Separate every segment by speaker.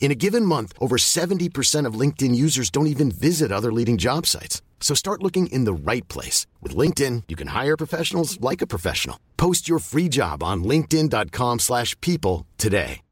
Speaker 1: In a given month, over 70% of LinkedIn users don't even visit other leading job sites. So start looking in the right place. With LinkedIn, you can hire professionals like a professional. Post your free job on linkedin.com slash people today.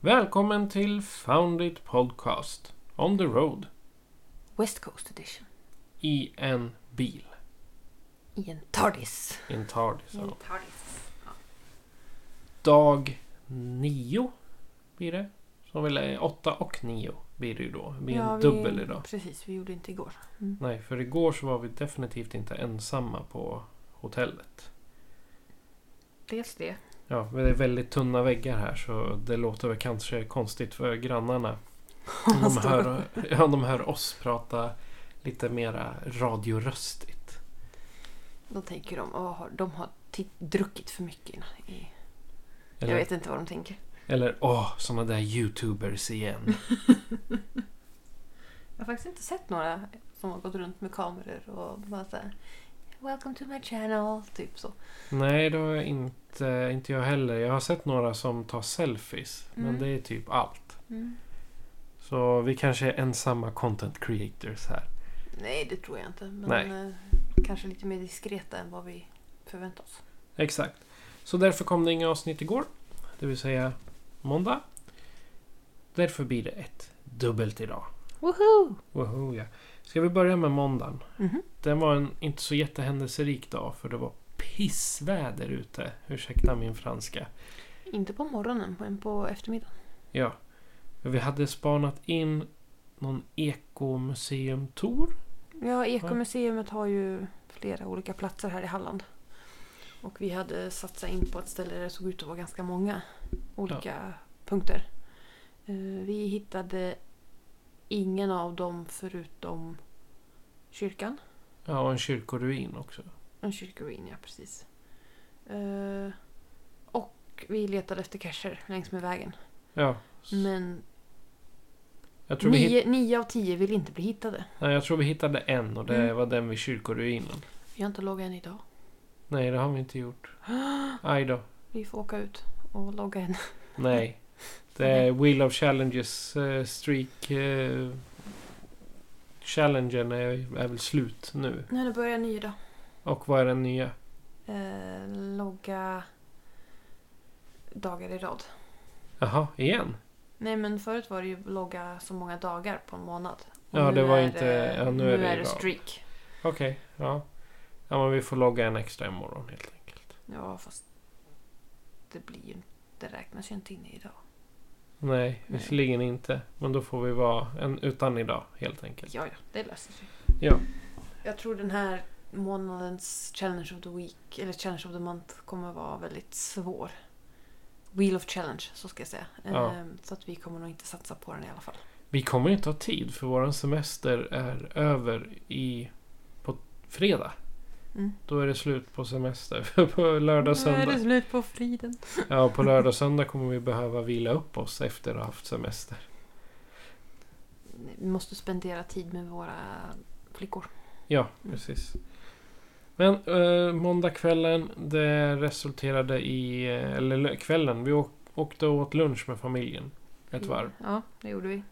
Speaker 2: Välkommen till Found It Podcast On the Road
Speaker 3: West Coast edition.
Speaker 2: i en bil.
Speaker 3: I en TARDIS.
Speaker 2: I en Tardis. ja.
Speaker 3: TARDIS.
Speaker 2: Dag nio blir det. Som väl är åtta och nio blir det ju då. Det blir en dubbel idag.
Speaker 3: Precis, vi gjorde inte igår.
Speaker 2: Nej, för igår så var vi definitivt inte ensamma på hotellet.
Speaker 3: Dels det.
Speaker 2: Ja, men det är väldigt tunna väggar här så det låter väl kanske konstigt för grannarna. Om
Speaker 3: Vad
Speaker 2: de,
Speaker 3: står
Speaker 2: hör, ja, om de hör oss prata lite mera radioröstigt.
Speaker 3: Då tänker de, åh, har- de har ti- druckit för mycket. innan i- Jag
Speaker 2: Eller,
Speaker 3: vet inte vad de tänker.
Speaker 2: eller åh, såna där youtubers igen.
Speaker 3: Jag har faktiskt inte sett några som har gått runt med kameror och bara såhär Welcome to my channel, typ så.
Speaker 2: Nej, det har jag inte, inte jag heller. Jag har sett några som tar selfies.
Speaker 3: Mm.
Speaker 2: Men det är typ allt.
Speaker 3: Mm.
Speaker 2: Så vi kanske är ensamma content creators här.
Speaker 3: Nej, det tror jag inte. Men
Speaker 2: Nej.
Speaker 3: eh, kanske lite mer diskreta än vad vi förväntar oss.
Speaker 2: Exakt. Så därför kom det inga avsnitt igår. Det vill säga måndag. Därför blir det ett dubbelt idag.
Speaker 3: Woohoo!
Speaker 2: Woho, ja. Ska vi börja med måndagen?
Speaker 3: Mhm.
Speaker 2: Den var en inte så jättehändelserik dag för det var pissväder ute. Ursäkta min franska.
Speaker 3: Inte på morgonen, men på eftermiddagen.
Speaker 2: Ja. Vi hade spanat in någon ekomuseumtour.
Speaker 3: Ja, Ekomuseet har ju flera olika platser här i Halland. Och vi hade satsat in på ett ställe där det såg ut att vara ganska många olika punkter. Eh, Vi hittade ingen av dem förutom kyrkan.
Speaker 2: Ja, och en kyrkoruin också.
Speaker 3: En kyrkoruin, ja precis. Eh, Och vi letade efter cacher längs med vägen.
Speaker 2: Ja. s-
Speaker 3: Men
Speaker 2: Jag tror, vi hitt-
Speaker 3: nio, nio av tio vill inte bli hittade.
Speaker 2: Nej, jag tror vi hittade en och det
Speaker 3: Mm.
Speaker 2: var den vid kyrkoruinen.
Speaker 3: Vi har inte loggat än idag.
Speaker 2: Nej, det har vi inte gjort. Aj då.
Speaker 3: Vi får åka ut och logga en.
Speaker 2: Nej. Det är Wheel of Challenges eh, streak... eh, Challengen är, är väl slut nu.
Speaker 3: Nej, nu börjar en ny dag.
Speaker 2: Och vad är den nya?
Speaker 3: Eh, logga dagar i rad.
Speaker 2: Jaha, igen?
Speaker 3: Nej men förut var det ju logga så många dagar på en månad. Och
Speaker 2: Ja,
Speaker 3: nu
Speaker 2: det var
Speaker 3: är
Speaker 2: inte- ja, nu är det i rad.
Speaker 3: streak.
Speaker 2: Okej, ja. Ja, men vi får logga en extra imorgon helt enkelt.
Speaker 3: Ja fast det blir ju det räknas ju inte in idag.
Speaker 2: Nej, visserligen inte. Men då får vi vara en utan idag helt enkelt.
Speaker 3: Ja, ja, det löser sig.
Speaker 2: Ja.
Speaker 3: Jag tror den här månadens challenge of the week, eller challenge of the month, kommer vara väldigt svår. Wheel of challenge, så ska jag säga.
Speaker 2: Ja.
Speaker 3: Ehm, Så att vi kommer nog inte satsa på den i alla fall.
Speaker 2: Vi kommer inte ha tid för våran semester är över i... På fredag.
Speaker 3: Mm.
Speaker 2: Då är det slut på semester. på lördag och
Speaker 3: Nu är det
Speaker 2: söndag.
Speaker 3: slut på friden.
Speaker 2: Ja, på lördag och söndag kommer vi behöva vila upp oss efter att ha haft semester.
Speaker 3: Vi måste spendera tid med våra flickor.
Speaker 2: Ja, precis. Men eh, måndagskvällen, det resulterade i... eh, Eller lö- kvällen, vi åk, åkte och åt lunch med familjen. Ett
Speaker 3: Mm.
Speaker 2: varv.
Speaker 3: Ja, det gjorde vi.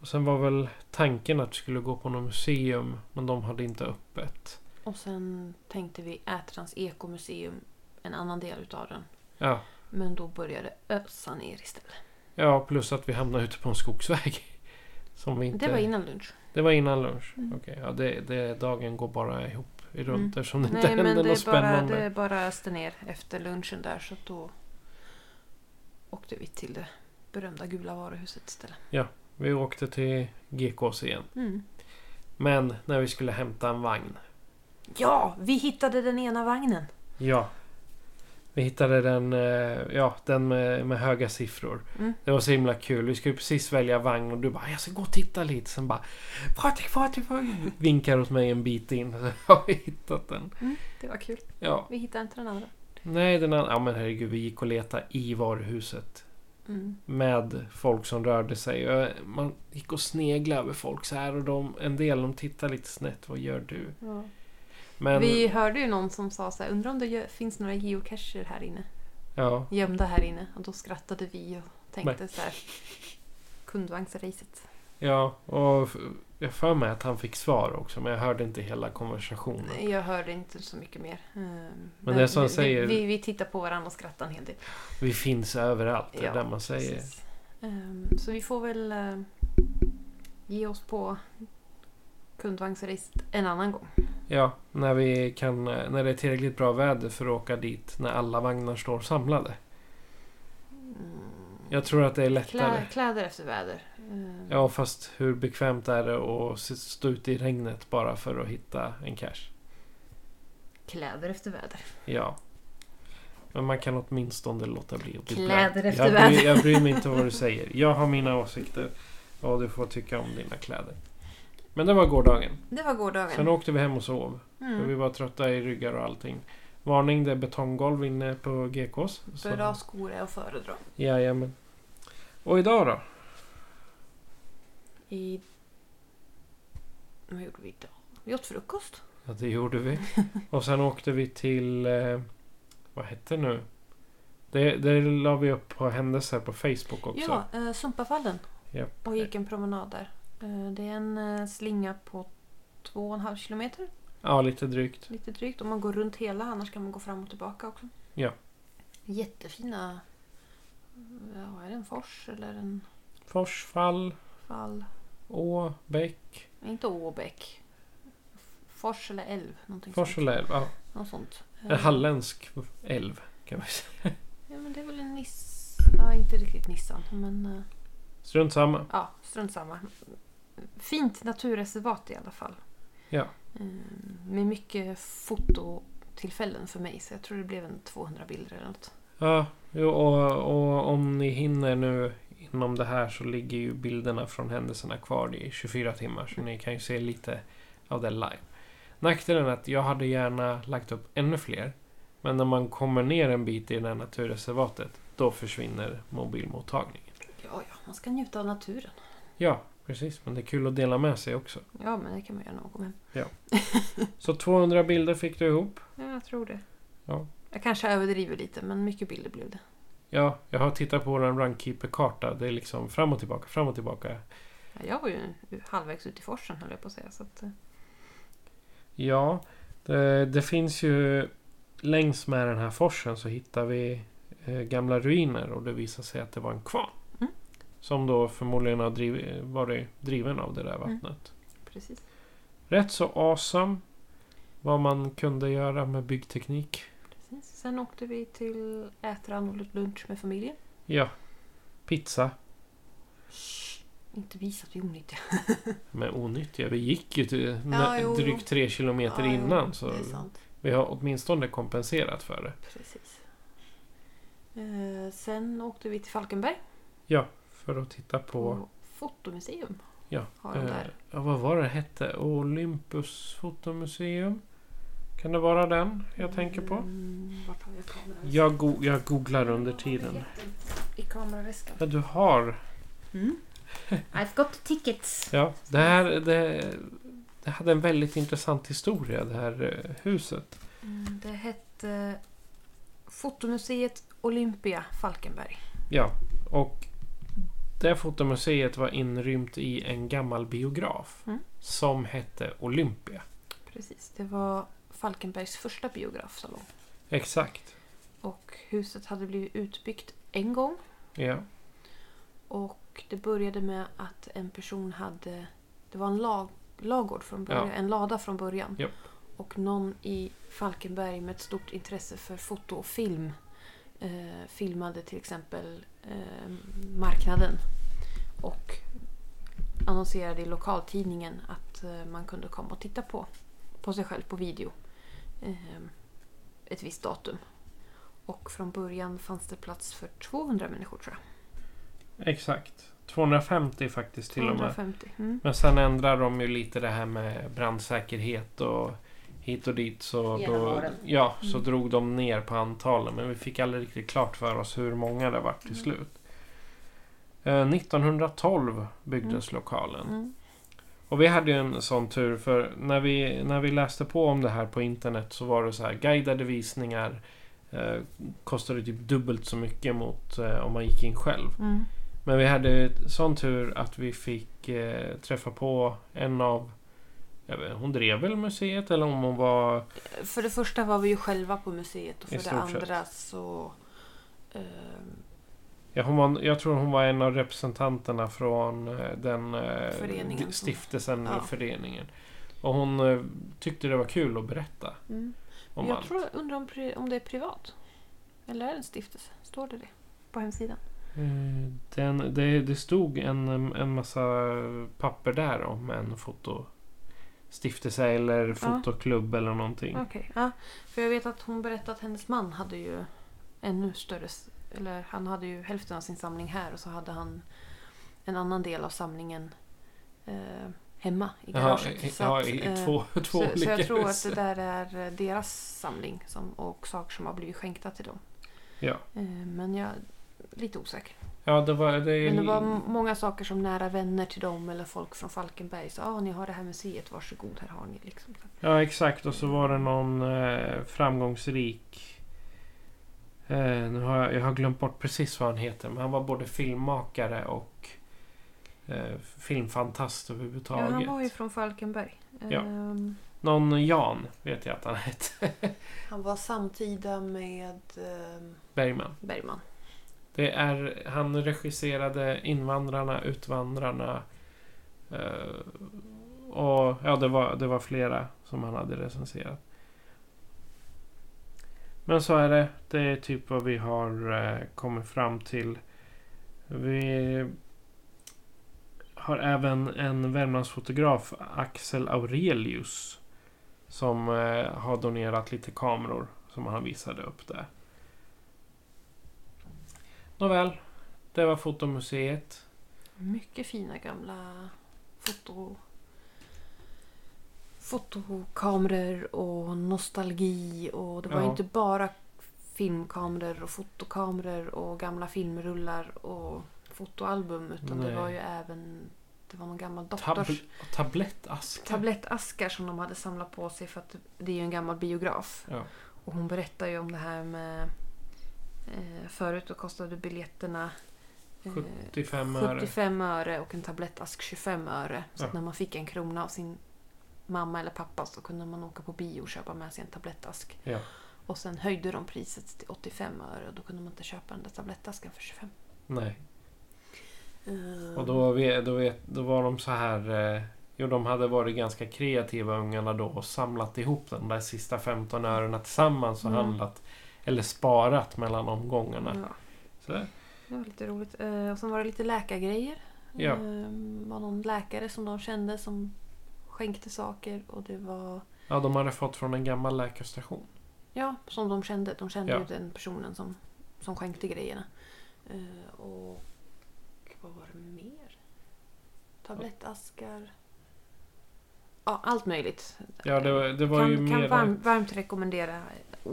Speaker 2: Och sen var väl tanken att vi skulle gå på något museum, men de hade inte öppet.
Speaker 3: Och sen tänkte vi Ätrans ekomuseum, en annan del utav den.
Speaker 2: Ja,
Speaker 3: Men då började ösa ner istället.
Speaker 2: ja plus att vi hamnade ute på en skogsväg. Som vi inte...
Speaker 3: Det var innan lunch.
Speaker 2: det var innan lunch.
Speaker 3: Mm.
Speaker 2: Okej, ja, det, det, dagen går bara ihop runt
Speaker 3: Mm.
Speaker 2: eftersom det inte
Speaker 3: Nej, men
Speaker 2: händer
Speaker 3: det
Speaker 2: något
Speaker 3: bara,
Speaker 2: spännande.
Speaker 3: det bara öste ner efter lunchen där så att då åkte vi till det berömda gula varuhuset istället.
Speaker 2: Vi åkte till GKs igen.
Speaker 3: Mm.
Speaker 2: Men när vi skulle hämta en vagn.
Speaker 3: Ja, vi hittade den ena vagnen!
Speaker 2: Ja. Vi hittade den, eh, ja, den med, med höga siffror.
Speaker 3: Mm.
Speaker 2: Det var så himla kul. Vi skulle precis välja vagn och du bara jag ska gå och titta lite. Sen bara Patrik, Patrik, Patrik", vinkar åt mig en bit in. Så har vi hittat den.
Speaker 3: Det var kul.
Speaker 2: Ja.
Speaker 3: Vi hittade inte den andra.
Speaker 2: Nej, den andra. Ja men herregud, vi gick och letade i varuhuset.
Speaker 3: Mm.
Speaker 2: Med folk som rörde sig. Och, eh, Man gick och sneglade över folk så här och de, en del de tittade lite snett. Vad gör du?
Speaker 3: Ja.
Speaker 2: Men,
Speaker 3: Vi hörde ju någon som sa så här, undrar om det gö- finns några geocacher här inne?
Speaker 2: ja.
Speaker 3: Gömda här inne. Och då skrattade vi och tänkte så här, kundvagnsracet.
Speaker 2: Ja, och f- jag för mig att han fick svar också, men jag hörde inte hela konversationen.
Speaker 3: Jag hörde inte så mycket mer. Ehm, Men,
Speaker 2: Oh, det som
Speaker 3: vi,
Speaker 2: säger-
Speaker 3: Vi, vi tittar på varandra och skrattar en hel del.
Speaker 2: Vi finns överallt, det är
Speaker 3: Ja,
Speaker 2: där man säger.
Speaker 3: Precis. Ehm, Så vi får väl ehm, ge oss på kundvagnsracet en annan gång.
Speaker 2: Ja, när, vi kan, när det är tillräckligt bra väder för att åka dit när alla vagnar står samlade. Jag tror att det är lättare.
Speaker 3: Mm. Klä, kläder efter väder. Ehm,
Speaker 2: Ja, fast hur bekvämt är det att s- stå ute i regnet bara för att hitta en cash?
Speaker 3: Kläder efter väder.
Speaker 2: Ja. Men man kan åtminstone låta bli att bli
Speaker 3: Kläder
Speaker 2: blöt.
Speaker 3: efter
Speaker 2: jag
Speaker 3: väder.
Speaker 2: bryr, jag bryr mig inte vad du säger. Jag har mina åsikter och du får tycka om dina kläder. Men det var gårdagen.
Speaker 3: Det var gårdagen.
Speaker 2: Sen åkte vi hem och sov. För vi
Speaker 3: mm.
Speaker 2: var trötta i ryggar och allting. Varning, det är betonggolv inne på GKs. Så-
Speaker 3: Bra skor är att föredra.
Speaker 2: Jajamän. Och idag då?
Speaker 3: I... Vad gjorde vi idag? Vi åt frukost.
Speaker 2: Ja, det gjorde vi. Och sen åkte vi till... Eh, vad hette det nu? Det, det la vi upp på händelser på Facebook också.
Speaker 3: Ja, eh, Sumpafallen.
Speaker 2: Japp.
Speaker 3: Och gick en promenad där. Eh, det är en eh, slinga på två och en halv kilometer.
Speaker 2: ja lite drygt.
Speaker 3: Lite drygt. Om man går runt hela, annars kan man gå fram och tillbaka också.
Speaker 2: Ja.
Speaker 3: Jättefina... Ja, är det en fors eller en
Speaker 2: Forsfall,
Speaker 3: fall?
Speaker 2: Å, Bäck,
Speaker 3: Inte Åbäck. Fors eller älv. Någonting
Speaker 2: Fors
Speaker 3: sånt.
Speaker 2: eller älv. Ja,
Speaker 3: Något sånt. Eh,
Speaker 2: en halländsk älv kan vi säga.
Speaker 3: Ja, men det är väl en Nissan. Ja, inte riktigt Nissan, men... eh,
Speaker 2: Strunt samma.
Speaker 3: Ja, strunt samma. Fint naturreservat i alla fall.
Speaker 2: Ja.
Speaker 3: Mm, Med mycket fototillfällen för mig, så jag tror det blev en 200 bilder eller något.
Speaker 2: Ja, jo, och, och om ni hinner nu inom det här så ligger ju bilderna från händelserna kvar i 24 timmar så ni kan ju se lite av det live. Nackdelen är att jag hade gärna lagt upp ännu fler men när man kommer ner en bit i det här naturreservatet då försvinner mobilmottagningen.
Speaker 3: Ja, ja, man ska njuta av naturen.
Speaker 2: Ja, precis. Men det är kul att dela med sig också.
Speaker 3: Ja, men det kan man göra någon gång.
Speaker 2: Så 200 bilder fick du ihop.
Speaker 3: Ja, jag tror det.
Speaker 2: Ja.
Speaker 3: Jag kanske överdriver lite, men mycket bilder blev det.
Speaker 2: Ja, jag har tittat på vår Runkeeper-karta. Det är liksom fram och tillbaka, fram och tillbaka.
Speaker 3: Ja, jag var ju halvvägs ut i forsen, höll jag på att säga. Så att, eh,
Speaker 2: Ja, det, det finns ju längs med den här forsen så hittar vi eh, gamla ruiner och det visar sig att det var en kvarn.
Speaker 3: Mm.
Speaker 2: Som då förmodligen har driv, varit driven av det där
Speaker 3: Mm.
Speaker 2: vattnet.
Speaker 3: precis.
Speaker 2: Rätt så awesome vad man kunde göra med byggteknik.
Speaker 3: precis. Sen åkte vi till Ätran och åt lunch med familjen.
Speaker 2: Ja, pizza
Speaker 3: Inte visa att vi är onyttiga.
Speaker 2: med onyttiga. Vi gick ju till,
Speaker 3: Ja,
Speaker 2: nä-
Speaker 3: jo, jo.
Speaker 2: drygt tre kilometer
Speaker 3: Ja, jo,
Speaker 2: innan så
Speaker 3: Det är sant.
Speaker 2: vi har åtminstone kompenserat för det.
Speaker 3: Precis. Eh, sen åkte vi till Falkenberg
Speaker 2: Ja, för att titta på
Speaker 3: på fotomuseum.
Speaker 2: Ja,
Speaker 3: Har de
Speaker 2: eh,
Speaker 3: där.
Speaker 2: ja, vad var det hette? Olympus fotomuseum? Kan det vara den jag tänker på?
Speaker 3: Mm, vart har jag kameran?
Speaker 2: Jag, go- jag googlar under tiden.
Speaker 3: I kameraväskan.
Speaker 2: Ja, du har...
Speaker 3: I've got tickets.
Speaker 2: Ja, det här... Det, det hade en väldigt intressant historia, det här eh, huset.
Speaker 3: Mm, det hette Fotomuseet Olympia Falkenberg.
Speaker 2: Ja, och det fotomuseet var inrymt i en gammal biograf
Speaker 3: Mm.
Speaker 2: som hette Olympia.
Speaker 3: Precis, det var Falkenbergs första biografsalong.
Speaker 2: Exakt.
Speaker 3: Och huset hade blivit utbyggt en gång
Speaker 2: Ja.
Speaker 3: Och det började med att en person hade... Det var en lag, lagård från början,
Speaker 2: Ja.
Speaker 3: en lada från början.
Speaker 2: Japp.
Speaker 3: Och någon i Falkenberg med ett stort intresse för foto och film eh, filmade till exempel eh, marknaden. Och annonserade i lokaltidningen att eh, man kunde komma och titta på, på sig själv på video eh, ett visst datum. Och från början fanns det plats för 200 människor tror jag.
Speaker 2: Exakt. 250 faktiskt till och med.
Speaker 3: 250. Mm.
Speaker 2: Men sen ändrar de ju lite det här med brandsäkerhet och hit och dit. Så
Speaker 4: Genom
Speaker 2: då,
Speaker 4: åren.
Speaker 2: ja, så
Speaker 3: Mm.
Speaker 2: drog de ner på antalen. Men vi fick aldrig riktigt klart för oss hur många det var till
Speaker 4: Mm.
Speaker 2: slut. Eh, 1912 byggdes lokalen.
Speaker 3: Mm.
Speaker 2: Och vi hade ju en sån tur för när vi, när vi läste på om det här på internet så var det så här guidade visningar eh, kostade typ dubbelt så mycket mot eh, om man gick in själv.
Speaker 3: Mm.
Speaker 2: Men vi hade sån tur att vi fick eh, träffa på en av... Jag vet, hon drev väl museet eller om hon var...
Speaker 3: För det första var vi ju själva på museet och
Speaker 2: I
Speaker 3: för det
Speaker 2: stort sett.
Speaker 3: andra så... Eh,
Speaker 2: Ja, hon var, jag tror hon var en av representanterna från eh, den eh,
Speaker 3: Föreningen som-
Speaker 2: stiftelsen
Speaker 3: Ja.
Speaker 2: eller föreningen. Och hon eh, tyckte det var kul att berätta
Speaker 3: mm.
Speaker 2: om
Speaker 3: jag
Speaker 2: allt.
Speaker 3: tror, undrar om, pri- om det är privat? Eller är det en stiftelse? Står det det på hemsidan?
Speaker 2: Eh, Den, det, det stod en, en massa papper där om en fotostiftelse eller fotoklubb eller någonting.
Speaker 3: Okej, ja. För jag vet att hon berättade att hennes man hade ju ännu större... s- Eller han hade ju hälften av sin samling här och så hade han en annan del av samlingen eh, hemma i
Speaker 2: Jaha,
Speaker 3: garaget.
Speaker 2: i-
Speaker 3: Så
Speaker 2: ja,
Speaker 3: att,
Speaker 2: i, i
Speaker 3: eh,
Speaker 2: två, två
Speaker 3: så, så
Speaker 2: olika
Speaker 3: jag tror att
Speaker 2: hus.
Speaker 3: det där är eh, deras samling som, och saker som har blivit skänkta till dem.
Speaker 2: Ja.
Speaker 3: Eh, Men jag är lite osäker.
Speaker 2: Ja, det var... Det,
Speaker 3: Men det var m- många saker som nära vänner till dem eller folk från Falkenberg sa ah, ni har det här museet, varsågod här har ni. Liksom. Så att-
Speaker 2: Ja, exakt. Och så var det någon eh, framgångsrik... Eh, nu har jag, jag har glömt bort precis vad han heter, men han var både filmmakare och eh, filmfantast
Speaker 3: Ja,
Speaker 2: överhuvudtaget.
Speaker 3: han var ju från Falkenberg.
Speaker 2: Ja.
Speaker 3: Ehm,
Speaker 2: Någon Jan vet jag att han hette.
Speaker 3: Han var samtida med eh,
Speaker 2: Bergman.
Speaker 3: Bergman.
Speaker 2: Det är, han regisserade Invandrarna, Utvandrarna eh, och ja, det var, det var flera som han hade recenserat. Men så är det. Det är typ vad vi har eh, kommit fram till. Vi har även en Värmlandsfotograf, Axel Aurelius, som eh, har donerat lite kameror som han visade upp där. Nåväl, det var fotomuseet.
Speaker 3: Mycket fina gamla foto... fotokameror och nostalgi. Och det var
Speaker 2: Ja.
Speaker 3: inte bara filmkameror och fotokameror och gamla filmrullar och fotoalbum. Utan
Speaker 2: Nej.
Speaker 3: det var ju även... Det var någon gammal
Speaker 2: Tabl
Speaker 3: doktors
Speaker 2: tablettaskar.
Speaker 3: tablettaskar som de hade samlat på sig för att det är ju en gammal biograf.
Speaker 2: Ja.
Speaker 3: Och hon berättar ju om det här med... Eh, förut då kostade biljetterna eh,
Speaker 2: 75 öre.
Speaker 3: 75 öre och en tablettask 25 öre. Så att
Speaker 2: Ja.
Speaker 3: när man fick en krona av sin mamma eller pappa så kunde man åka på bio och köpa med sig en tablettask.
Speaker 2: Ja.
Speaker 3: Och sen höjde de priset till 85 öre och då kunde man inte köpa den där tablettasken för 25.
Speaker 2: Nej. Och då, ve- då, vet, då var de så här... Eh, jo, de hade varit ganska kreativa ungarna då och samlat ihop de där sista 15 örena tillsammans och
Speaker 3: Mm.
Speaker 2: handlat. Eller sparat mellan omgångarna.
Speaker 3: Ja,
Speaker 2: Så där.
Speaker 3: det var lite roligt. Eh, Och sen var det lite läkargrejer.
Speaker 2: Ja.
Speaker 3: Eh, var någon läkare som de kände som skänkte saker och det var
Speaker 2: Ja, de hade fått från en gammal läkarstation.
Speaker 3: Ja, som de kände. De kände
Speaker 2: Ja.
Speaker 3: ju den personen som, som skänkte grejerna. Eh, och vad var det mer? Tablettaskar. Ja, allt möjligt.
Speaker 2: Ja, det, var- det var
Speaker 3: kan
Speaker 2: ju
Speaker 3: kan
Speaker 2: mer...
Speaker 3: varm, varmt rekommendera att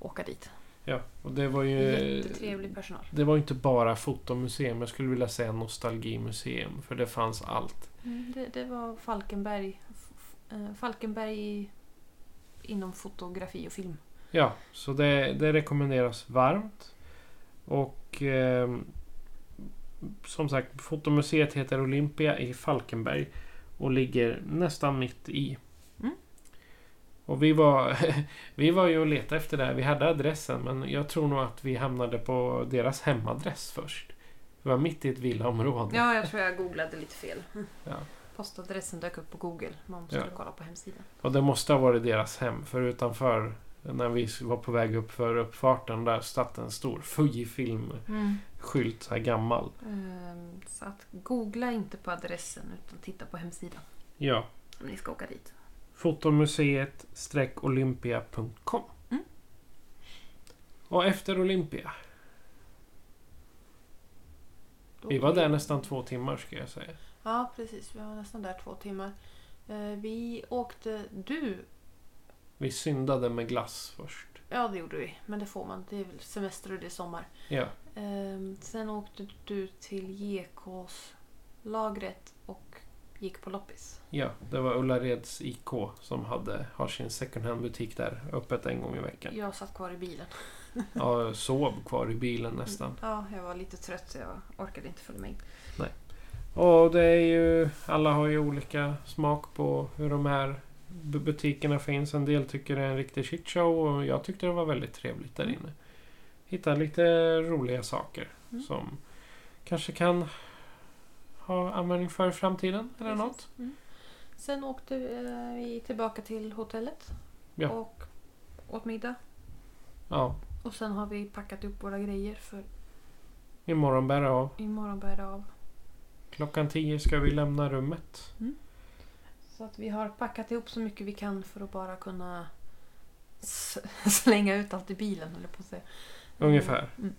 Speaker 3: åka dit.
Speaker 2: Ja, och det var ju...
Speaker 3: Jättetrevlig personal.
Speaker 2: Det var ju inte bara fotomuseum, jag skulle vilja säga nostalgimuseum. För det fanns allt.
Speaker 3: Mm, Det, det var Falkenberg. F- f- eh, Falkenberg i- inom fotografi och film.
Speaker 2: Ja, så det, det rekommenderas varmt. Och ehm, som sagt, fotomuseet heter Olympia i Falkenberg och ligger nästan mitt i.
Speaker 3: Mm.
Speaker 2: Och vi var, vi var ju och letade efter det här. Vi hade adressen men jag tror nog att vi hamnade på deras hemadress först. Vi var mitt i ett villaområde.
Speaker 3: Ja, jag tror jag googlade lite fel.
Speaker 2: Ja.
Speaker 3: Postadressen dök upp på Google. Man skulle kolla på hemsidan.
Speaker 2: Och det måste ha varit deras hem, för utanför när vi var på väg upp för uppfarten där satt en stor Fujifilm-skylt,
Speaker 3: Mm.
Speaker 2: så här gammal.
Speaker 3: Ehm, Så att googla inte på adressen utan titta på hemsidan
Speaker 2: Ja.
Speaker 3: om ni ska åka dit.
Speaker 2: Fotomuseet-olympia.com
Speaker 3: Mm.
Speaker 2: Och efter Olympia. Vi var där nästan två timmar ska jag säga.
Speaker 3: Ja, precis. Vi var nästan där två timmar. Eh, Vi åkte... Du...
Speaker 2: Vi syndade med glass först.
Speaker 3: Ja, det gjorde vi. Men det får man. Det är väl semester och det är sommar.
Speaker 2: Ja,
Speaker 3: Eh, Sen åkte du till GKs-lagret och gick på loppis.
Speaker 2: ja, det var Ullareds IK som hade, har sin second hand butik där öppet en gång i veckan.
Speaker 3: Jag satt kvar i bilen.
Speaker 2: Ja, jag sov kvar i bilen nästan.
Speaker 3: Ja, jag var lite trött så jag orkade inte följa med in.
Speaker 2: Och det är ju... Alla har ju olika smak på hur de här bu- butikerna finns. En del tycker det är en riktig shitshow och jag tyckte det var väldigt trevligt där inne. Hitta lite roliga saker
Speaker 3: Mm.
Speaker 2: som kanske kan ha användning för i framtiden eller
Speaker 3: Precis.
Speaker 2: något.
Speaker 3: Mm. Sen åkte eh, vi tillbaka till hotellet
Speaker 2: Ja.
Speaker 3: och åt middag.
Speaker 2: Ja,
Speaker 3: Och sen har vi packat upp våra grejer för
Speaker 2: imorgon bär det av.
Speaker 3: imorgon bär det av.
Speaker 2: Klockan 10 ska vi lämna rummet.
Speaker 3: Så att vi har packat ihop så mycket vi kan för att bara kunna s- slänga ut allt i bilen, eller på att säga.
Speaker 2: Ungefär.
Speaker 3: Mm.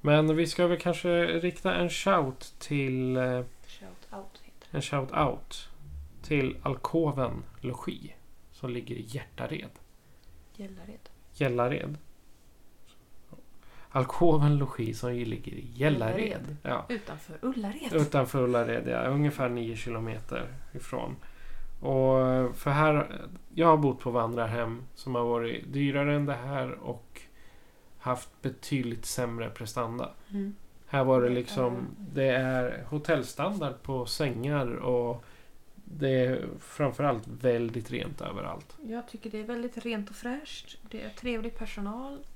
Speaker 2: Men vi ska väl kanske rikta en shout till... eh,
Speaker 3: Shout out heter
Speaker 2: En shout-out till Alkoven Logi som ligger i Hjärtared.
Speaker 3: det. Gällared.
Speaker 2: Gällared. Alkoven Logi som ju ligger i Gällared.
Speaker 3: Gällared.
Speaker 2: Ja,
Speaker 3: Utanför Ullared.
Speaker 2: utanför Ullared, ja, ungefär 9 kilometer ifrån. Och för här, jag har bott på vandrarhem som har varit dyrare än det här och haft betydligt sämre prestanda.
Speaker 3: Mm.
Speaker 2: Här var det
Speaker 3: Mm.
Speaker 2: liksom, det är hotellstandard på sängar och det är framförallt väldigt rent överallt.
Speaker 3: Jag tycker det är väldigt rent och fräscht. Det är trevlig personal.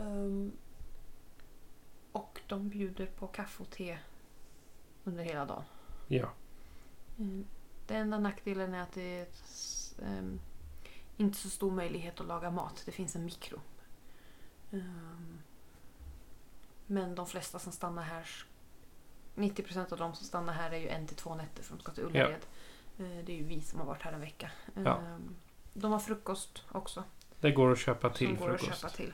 Speaker 3: Ehm, och de bjuder på kaffe och te under hela dagen.
Speaker 2: Ja.
Speaker 3: Mm. Den enda nackdelen är att det är ett, s- ehm, inte så stor möjlighet att laga mat. Det finns en mikro. Ehm, men de flesta som stannar här, s- 90% av de som stannar här är ju en till två nätter för de ska till Ullared. Eh, det är ju vi som har varit här en vecka.
Speaker 2: Ja.
Speaker 3: Ehm, de har frukost också.
Speaker 2: Det går att köpa
Speaker 3: som
Speaker 2: till
Speaker 3: går att
Speaker 2: frukost.
Speaker 3: köpa till.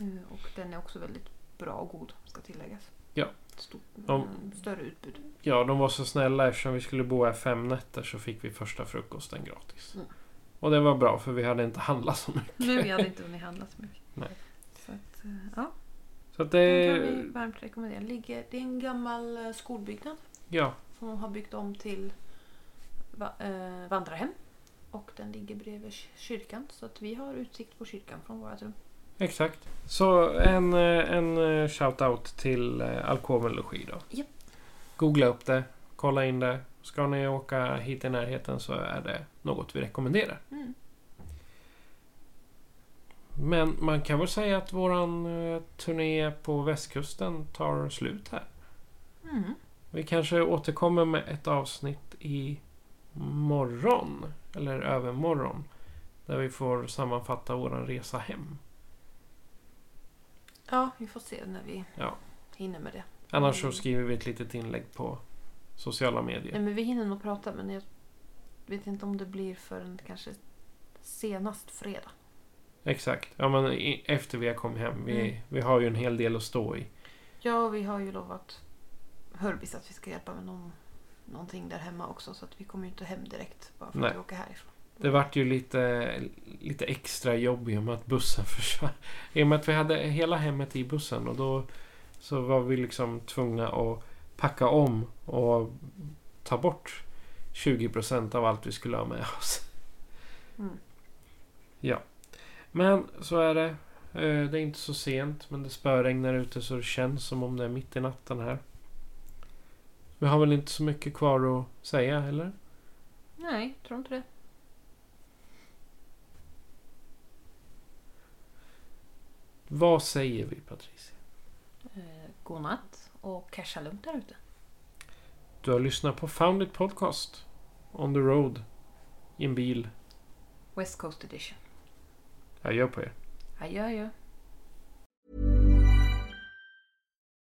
Speaker 3: Eh, och den är också väldigt bra och god, ska tilläggas.
Speaker 2: Ja.
Speaker 3: Stort,
Speaker 2: Om-
Speaker 3: ehm, större utbud.
Speaker 2: Ja, de var så snälla eftersom vi skulle bo här fem nätter så fick vi första frukosten gratis.
Speaker 3: Mm.
Speaker 2: Och det var bra för vi hade inte handlat så mycket.
Speaker 3: Nu vi hade inte hunnit handla så mycket.
Speaker 2: Nej.
Speaker 3: Så att, eh, ja,
Speaker 2: Så att
Speaker 3: den kan
Speaker 2: det...
Speaker 3: vi varmt rekommendera. Ligger, det är en gammal eh, skolbyggnad
Speaker 2: Ja,
Speaker 3: som de har byggt om till va, eh, vandrarhem. Och den ligger bredvid ky- kyrkan så att vi har utsikt på kyrkan från vårt rum.
Speaker 2: exakt. Så en, eh, en eh, shout-out till eh, Alkoven Logi då.
Speaker 3: Japp.
Speaker 2: Googla upp det, kolla in det. Ska ni åka hit i närheten så är det något vi rekommenderar.
Speaker 3: Mm.
Speaker 2: Men man kan väl säga att våran eh, turné på västkusten tar slut här.
Speaker 3: Mm.
Speaker 2: Vi kanske återkommer med ett avsnitt i morgon eller övermorgon. Där vi får sammanfatta våran resa hem.
Speaker 3: Ja, vi får se när vi
Speaker 2: Ja.
Speaker 3: hinner med det.
Speaker 2: Annars
Speaker 3: Mm.
Speaker 2: så skriver vi ett litet inlägg på sociala medier.
Speaker 3: Nej, men vi hinner nog prata men jag vet inte om det blir förrän kanske senast fredag.
Speaker 2: Exakt. Ja, men i, efter vi har kommit hem. Vi,
Speaker 3: Mm.
Speaker 2: vi har ju en hel del att stå i.
Speaker 3: Ja, och vi har ju lovat Hörbis att vi ska hjälpa med någon, någonting där hemma också så att vi kommer ju inte hem direkt bara för
Speaker 2: Nej.
Speaker 3: att vi åker härifrån.
Speaker 2: Det vart ju lite, lite extra jobb i och med att bussen försvann. I och med att vi hade hela hemmet i bussen och då så var vi liksom tvungna att packa om och ta bort 20% av allt vi skulle ha med oss.
Speaker 3: Mm.
Speaker 2: Men så är det. Eh, Det är inte så sent men det spöregnar ute så det känns som om det är mitt i natten här. Vi har väl inte så mycket kvar att säga eller?
Speaker 3: Nej, tror inte det.
Speaker 2: Vad säger vi Patricia?
Speaker 3: Eh, god natt och casha lugnt där ute.
Speaker 2: Du har lyssnat på Founded Podcast. On the road. I en bil.
Speaker 3: West Coast edition.
Speaker 2: Adjö på er.
Speaker 3: Adjö adjö.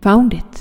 Speaker 3: Found it.